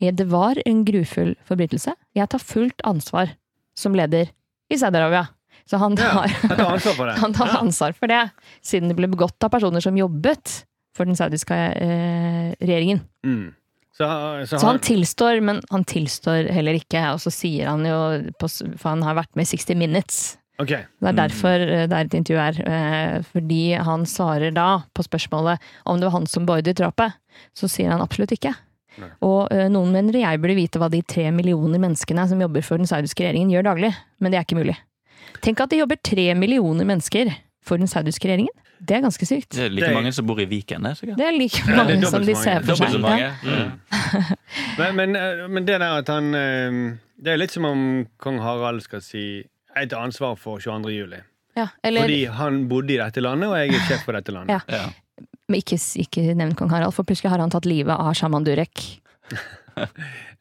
S4: «Ja, Det var en grufull forbrytelse. Jeg tar fullt ansvar som leder i Saudi-Arabia. Så han tar
S2: Jeg tar ansvar for det.
S4: han tar ansvar for det, siden det ble begått av personer som jobbet for den saudiske eh, regjeringen.
S2: Mm. Så, så,
S4: Så
S2: han,
S4: han tilstår, men han tilstår heller ikke. Og så sier han jo, på, s- for han har vært med i 60 Minutes.
S2: Ok.
S4: Det er derfor eh, det er et intervju her. eh, Fordi han svarer da på spørsmålet om det var han som bordet i drapet. Så sier han absolutt ikke.
S2: Nei.
S4: Og eh, noen mener jeg burde vite hva de tre millioner menneskene som jobber for den saudiske regjeringen gjør daglig. Men det er ikke mulig. Tenk at det jobber tre millioner mennesker for den saudiske regjeringen. Det er ganske sykt.
S3: Det er like
S2: Det-
S3: mange som bor i Viken, det. sikkert.
S4: Det er like
S2: Ja, det
S4: mange
S2: er
S4: som de
S2: dobbelt så
S4: ser
S2: mange.
S4: for
S3: Dobbelt
S4: seg.
S3: så mange. Mm.
S2: Men, men, eh, men det der at han eh, Det er litt som om kong Harald skal si Jeg tar ansvar for 22. juli.
S4: Ja, eller,
S2: Fordi han bodde i dette landet, og jeg er sjef for dette landet.
S4: Ja.
S3: Ja.
S4: men ikke, ikke nevn kong Harald, for plutselig har han tatt livet av sjaman Durek.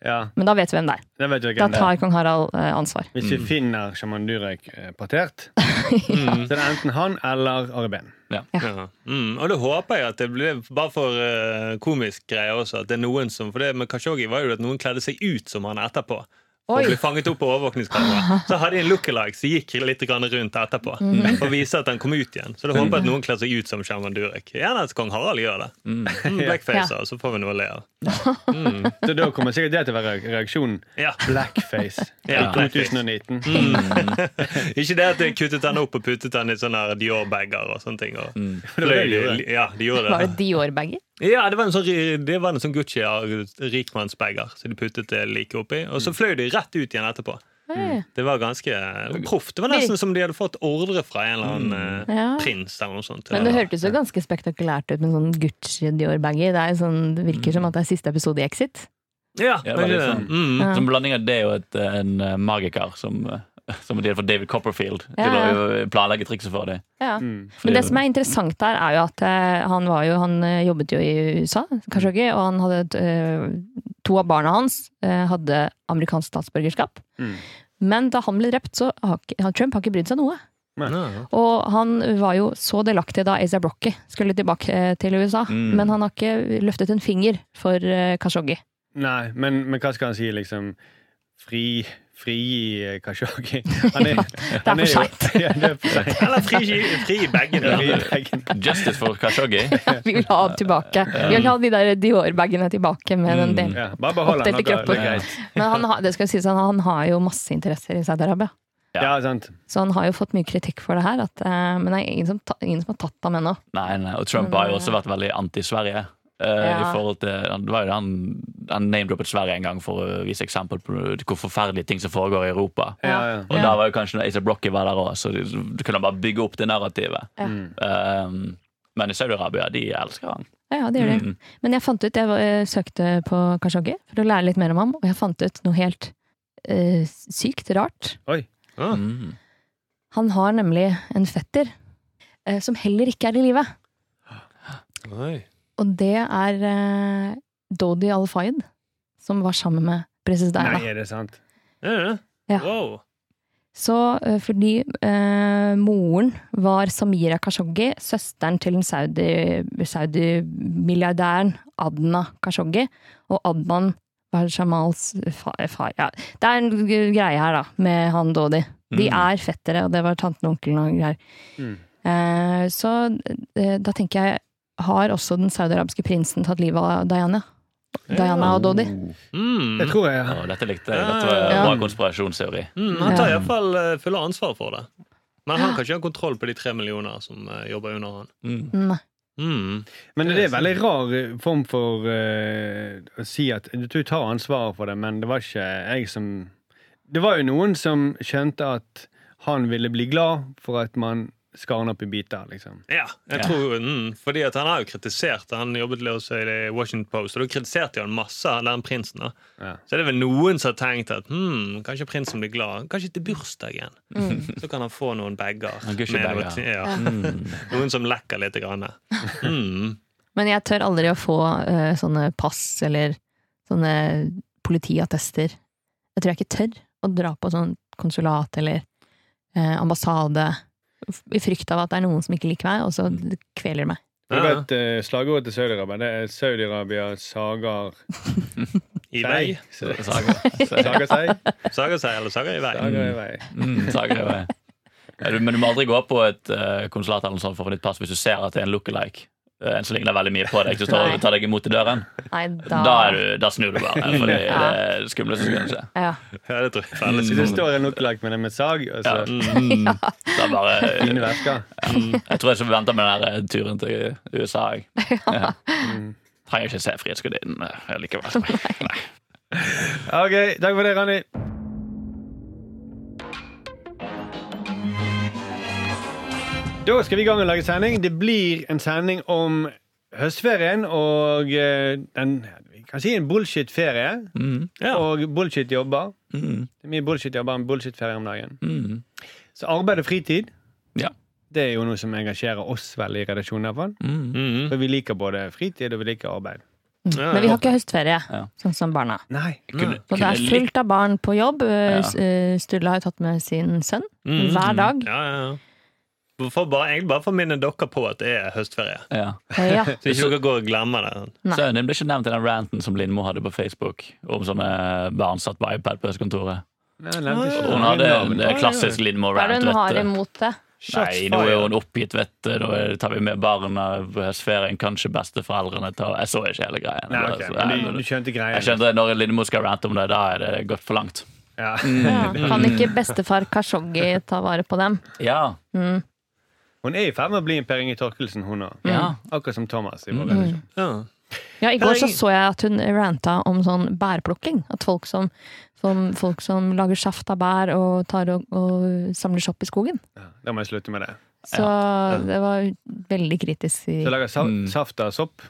S2: Ja,
S4: Men da vet vi hvem det er.
S2: det vet jeg
S4: Da
S2: ikke.
S4: tar kong Harald eh, ansvar.
S2: Hvis
S5: Mm.
S2: vi finner sjaman Durek eh, partert, så er det enten han eller Ari Behn.
S5: Ja. Mm, og det håper jeg at det blir bare for eh, komisk greie også. At det er noen som, for det med Kashoggi var jo at noen kledde seg ut som han etterpå.
S4: Oi.
S5: Og ble fanget opp på overvåkningskamera. Så hadde de en lookalike som gikk litt grann rundt etterpå. For å vise at han kom ut igjen. Så det håper jeg at noen kler seg ut som Sherman Durek. Gjerne at kong Harald gjør det. Mm, Blackfacer, så får vi noe å le av.
S2: Så da kommer sikkert det til å være reaksjonen.
S5: Ja.
S2: Blackface
S5: Ja,
S2: i
S5: blackface. Mm.
S2: 2019.
S5: Ikke det at de kuttet han opp og puttet han i sånne her Dior-bager og sånne ting. Og
S2: det var det de
S5: fløy, Mm. ja, de gjorde
S4: Var
S5: det.
S4: det Dior-bager?
S5: Ja, det var en sånn, det var en sånn Gucci rikmannsbager, så de puttet det like oppi. Og så fløy de rett ut igjen etterpå.
S4: Mm.
S5: Det var ganske eh, proft. Det var nesten som de hadde fått ordre fra en eller annen eh,
S4: Ja.
S5: prins eller noe sånt.
S4: Men det hørtes jo ganske spektakulært ut med en sånn Gucci-Dior-baggy. Det, er jo sånn, det virker som at det er siste episode i Exit.
S5: Ja,
S3: Ja,
S5: men,
S3: veldig
S5: det-
S3: sånn.
S5: mm.
S3: Som blanding av det og et, en eh, magiker som, eh, som de hadde fått David Copperfield til
S4: Ja, ja.
S3: å planlegge trikset for dem.
S2: Mm.
S4: Men Mm. det som er interessant der, er jo at eh, han, var jo, han eh, jobbet jo i USA, Khashoggi, og han hadde et, eh, to av barna hans eh, hadde amerikansk statsborgerskap.
S2: Mm.
S4: Men da han ble drept, så har ikke, han- Trump har ikke brydd seg noe.
S5: Ja.
S4: Og han var jo så delaktig da Aza Brocky skulle tilbake eh, til USA.
S3: Mm.
S4: Men han har ikke løftet en finger for eh, Khashoggi.
S2: Nei, men, men hva skal han si, liksom? Fri Frigi eh, Kashoggi. Han er,
S4: Det er
S2: han
S4: for
S2: jo-
S4: seint.
S2: Ja, det er for seint.
S5: Eller fri, fri i bagen.
S2: Ja,
S5: da.
S2: fri i veggen.
S3: Justice for Kashoggi.
S4: Vi vil ha ham tilbake. Vi vil ha de der Dior-bagene tilbake med den delen.
S2: Ja, bare behold han.
S4: Oppdelte
S2: dere. Det er
S4: kroppen.
S2: greit.
S4: Men han har, det skal jo sies at han har jo masse interesser i Saudi-Arabia.
S2: Ja, sant.
S4: Så han har jo fått mye kritikk for det her, at, eh, men det er ingen som, ta, ingen som har tatt ham ennå.
S3: Nei, nei, og Trump har jo også vært veldig anti-Sverige. eh,
S4: Ja.
S3: I forhold til, han- det var jo det Han, han name-droppet Sverige en gang for å vise eksempel på hvor forferdelige ting som foregår i Europa.
S2: Ja, ja.
S3: Og da var jo kanskje når Asa Brocky var der òg, så de- du kunne bare bygge opp det narrativet.
S4: Ja.
S2: Mm.
S3: Um, men i Saudi-Arabia, de elsker han.
S4: Ja, ja, det gjør
S3: Mm.
S4: det. Men jeg fant ut, jeg var- eh, søkte på Khashoggi for å lære litt mer om ham, og jeg fant ut noe helt eh, sykt rart.
S2: Oi.
S5: Ah.
S3: Mm.
S4: Han har nemlig en fetter eh, som heller ikke er i live.
S5: Oi.
S4: Og det er eh, Dodi Al-Fayed, som var sammen med prinsesse Diana.
S2: Nei, er det sant?
S5: Er det det?
S4: Ja.
S5: Wow.
S4: Så eh, fordi eh, moren var Samira Khashoggi, søsteren til den saudi- saudi-milliardæren Adna Khashoggi, og Adnan var Jamals far, far ja. Det er en g- greie her, da, med han Dodi. De er fettere, og det var tanten og onkelen og greier.
S2: Mm.
S4: Eh, så eh, da tenker jeg, har også den saudiarabiske prinsen tatt livet av Diana? Diana og Dodi.
S5: Mm.
S2: Det tror jeg.
S3: Å, dette likte jeg. Dette var
S4: Ja.
S3: bra konspirasjonsteori.
S5: Mm, han tar
S4: Ja.
S5: iallfall uh, fulle ansvar for det. Men han kan ikke ha kontroll på de tre millioner som eh, jobber under han.
S3: Mm.
S4: Nei.
S5: Mm.
S2: Men det er en veldig rar eh, form for eh, å si at du tar ansvaret for det, men det var ikke jeg som Det var jo noen som skjønte at han ville bli glad for at man skar han opp i biter, liksom.
S5: Ja, jeg
S3: Ja.
S5: tror mm, Fordi at han har jo kritisert Han jobbet litt også i det Washington Post, og da kritiserte jo han masse den prinsen. da
S2: Ja.
S5: Så er det vel noen som har tenkt at hmm, kanskje prinsen blir glad. Kanskje til bursdagen.
S4: Mm.
S5: Så kan han få noen bager.
S3: Han kan ikke
S5: med noe
S3: bager. Mm.
S5: ti- Ja. Noen som lekker litt. Grann. Mm.
S4: Men jeg tør aldri å få eh, sånne pass eller sånne politiattester. Jeg tror jeg ikke tør å dra på sånn konsulat eller eh, ambassade f- i frykt av at det er noen som ikke liker meg, og så kveler de meg.
S2: Du
S5: Ja.
S2: vet eh, slagordet til Saudi-Arabia? Det er Saudi-Arabia sager
S5: I vei.
S2: seg.
S3: Sager.
S2: Sager seg.
S5: Sager seg eller sager i vei.
S2: Sager i vei.
S3: Mm, sager er vei. Ja, du- Men du må aldri gå på et eh, konsulat eller noe sånt for å få ditt pass hvis du ser at det er en lookalike. Eh, En som ligner veldig mye på deg, som står og tar deg imot i døren.
S4: Nei,
S3: Da,
S4: da,
S3: er du, da snur du bare, for det er det skumleste som kan skje.
S4: Ja.
S5: Ja, det tror jeg
S3: Mm.
S5: felles.
S2: Så det står en lookalike med det med sag, og så
S3: Ja. Mm. Da bare,
S2: fine vesker.
S3: jeg tror jeg skal vente med den der turen til USA. Jeg. Ja. Mm. Trenger ikke se Frihetsgudinnen eh, likevel. Nei.
S2: Ok, takk for det, Randi. Da skal vi i gang og lage sending. Det blir en sending om høstferien og eh, den Vi kan si en bullshit-ferie
S3: Mm.
S5: Ja.
S2: og bullshit-jobber.
S3: Mm.
S2: Det er mye bullshit-jobber og bullshit-ferie om dagen.
S3: Mm.
S2: Så arbeid og fritid
S3: Ja.
S2: det er jo noe som engasjerer oss veldig i redaksjonen. i hvert fall.
S3: Mm.
S5: Mm.
S2: For vi liker både fritid og vi liker arbeid.
S5: Ja,
S4: Men vi har ikke høstferie,
S3: Ja.
S4: sånn som barna.
S2: Nei.
S3: Kunne,
S4: Og det
S3: kunne
S4: er
S3: likt
S4: fullt av barn på jobb. Eh, s- eh, Sturle har jo tatt med sin sønn
S5: Mm.
S4: hver dag.
S5: Ja, ja, ja. For bare, egentlig bare for å minne dere på at det er høstferie.
S3: ja.
S4: Eh, Ja.
S5: Så ikke dere går og glemmer det.
S4: Nei.
S3: Sønnen din ble ikke nevnt i den ranten som Lindmo hadde på Facebook om sånne barn satt på iPad på høstkontoret.
S2: Nei, jeg nevnte ikke.
S3: Og Hun hadde
S5: Oi,
S3: en eh,
S5: oi, oi.
S3: klassisk
S4: Hva er det
S3: Lindmo-rant.
S4: hun
S3: vet
S4: har
S3: du.
S4: imot det?
S3: Nei, nå er hun oppgitt, vet du. Nå tar vi med barna på høstferien. Kanskje besteforeldrene tar Jeg så ikke hele greia.
S2: Nei, ok, men du, du skjønte greia.
S3: Jeg skjønte at Når Lindmo skal rante om det, da er det gått for langt.
S2: Ja.
S3: Mm.
S4: Ja. Kan ikke bestefar Kashoggi ta vare på dem?
S3: Ja.
S2: Hun er i ferd med å bli en Per Inge Torkelsen, hun òg.
S3: Ja. Mm.
S2: Akkurat som Thomas. i vår redaksjon.
S5: Ja.
S4: Ja, I går så, så jeg at hun ranta om sånn bærplukking. At folk som, som, folk som lager saft av bær og, tar og, og samler sopp i skogen.
S2: Ja, da må jeg slutte med det.
S4: Så det var veldig kritisk. I,
S2: Så jeg lager sa
S3: Mm.
S2: saft av sopp.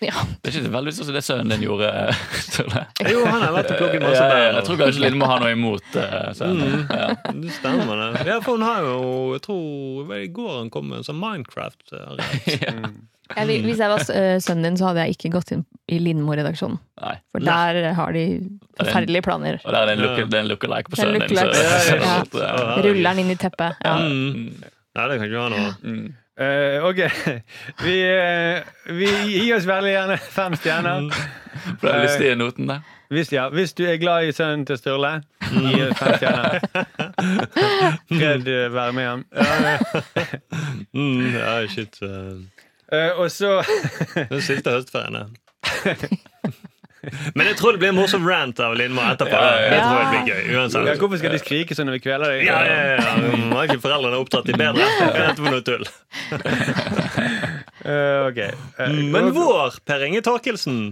S4: ja.
S3: Det er ikke veldig sånn som det sønnen din gjorde. Sturle.
S5: Jo, han har vært og plukket
S3: Ja,
S5: masse
S3: ja,
S5: bær.
S3: jeg tror kanskje Lindmo har noe imot eh, sønnen. Ja.
S5: Det stemmer, det. Ja, for hun har jo Jeg tror hva er det i går han kom med en sånn Minecraft. eh,
S4: jeg, vil- hvis jeg var eh, sønnen din, så hadde jeg ikke gått inn i Lindmo-redaksjonen.
S3: Nei.
S4: For der har de forferdelige planer.
S3: Og der er det en look- det er en look-alike på
S4: Det er en
S3: sønnen din. så- så-
S4: lookalike. Ja.
S3: så- ja.
S4: Ruller den inn i teppet. Ja.
S5: Mm. Nei, det kan ikke være noe.
S2: Eh, ok. Vi, eh, vi gir oss veldig gjerne fem stjerner.
S3: Mm. For den lystige noten der.
S2: Hvis, ja, hvis du er glad i sønnen til Sturle, gi oss fem stjerner. Fred eh, være med ham.
S5: Mm, ja, shit. eh,
S2: Eh, og så
S5: Den siste høstferien, det. Men jeg tror det blir en morsom rant av Lindmo etterpå.
S3: ja,
S5: Det
S4: ja.
S5: tror jeg blir gøy,
S2: ja,
S5: uansett.
S2: Hvorfor skal de skrike sånn når vi kveler deg?
S5: Ja, ja, ja. Mm, Nå er ikke foreldrene opptatt i bedre. Dette var noe tull.
S2: Eh, ok. Eh,
S5: Men vår Per Inge Torkelsen,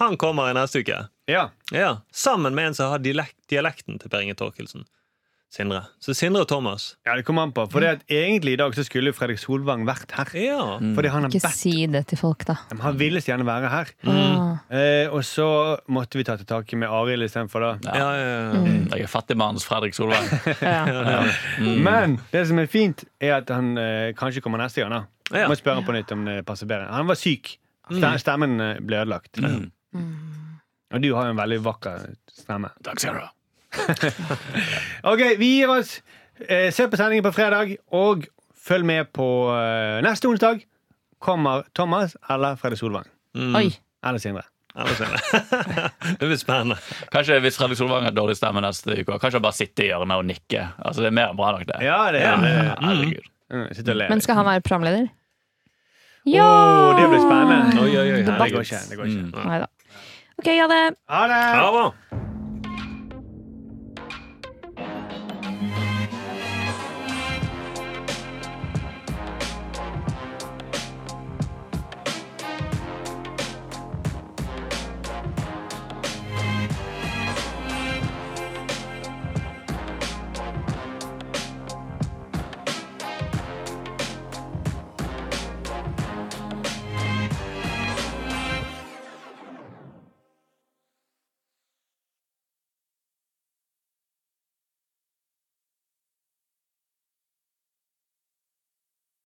S5: han kommer i neste uke.
S2: Ja.
S5: Ja, Sammen med en som har dialekt, dialekten til Per Inge Torkelsen. Sindre. Så Sindre og Thomas.
S2: ja, det kommer an på. For det at egentlig i dag så skulle Fredrik Solvang vært her.
S5: Ja.
S2: Fordi han har
S4: Mm. Ikke
S2: bedt
S4: si det til folk, da.
S2: Han ville så gjerne være her.
S4: Ah.
S2: Eh, og så måtte vi ta til takke med Arild istedenfor, da.
S5: Ja, ja, ja.
S3: Mm, Jeg er fattigmannens Fredrik Solvang.
S4: Ja. Mm.
S2: Men det som er fint, er at han eh, kanskje kommer neste gang. da
S5: Ja.
S2: Må spørre han på nytt om det passer bedre. Han var syk.
S4: Mm.
S2: Ste- Stemmen eh, ble ødelagt. Og du har jo en veldig vakker stemme.
S3: Takk skal du ha.
S2: Ok, vi gir oss. Eh, se på sendingen på fredag, og følg med på eh, neste onsdag. Kommer Thomas eller Fredrik Solvang?
S4: Oi.
S2: Eller Sindre?
S5: Eller Mm. Sindre. Det blir spennende.
S3: Kanskje hvis Fredrik Solvang har dårlig stemme neste uke, kanskje han bare sitter i hjørnet og nikker. Altså, det er mer enn bra nok, det.
S2: Ja, det er det.
S3: Herregud.
S2: Mm, Sitter og ler.
S4: Men skal han være programleder?
S2: Åh, det blir spennende.
S5: Oi, oi, oi,
S2: Nei,
S5: herregud. Mm.
S2: det går ikke. Det går ikke.
S4: Nei da.
S6: OK, ha det.
S7: Ha det!
S4: Ha det bra!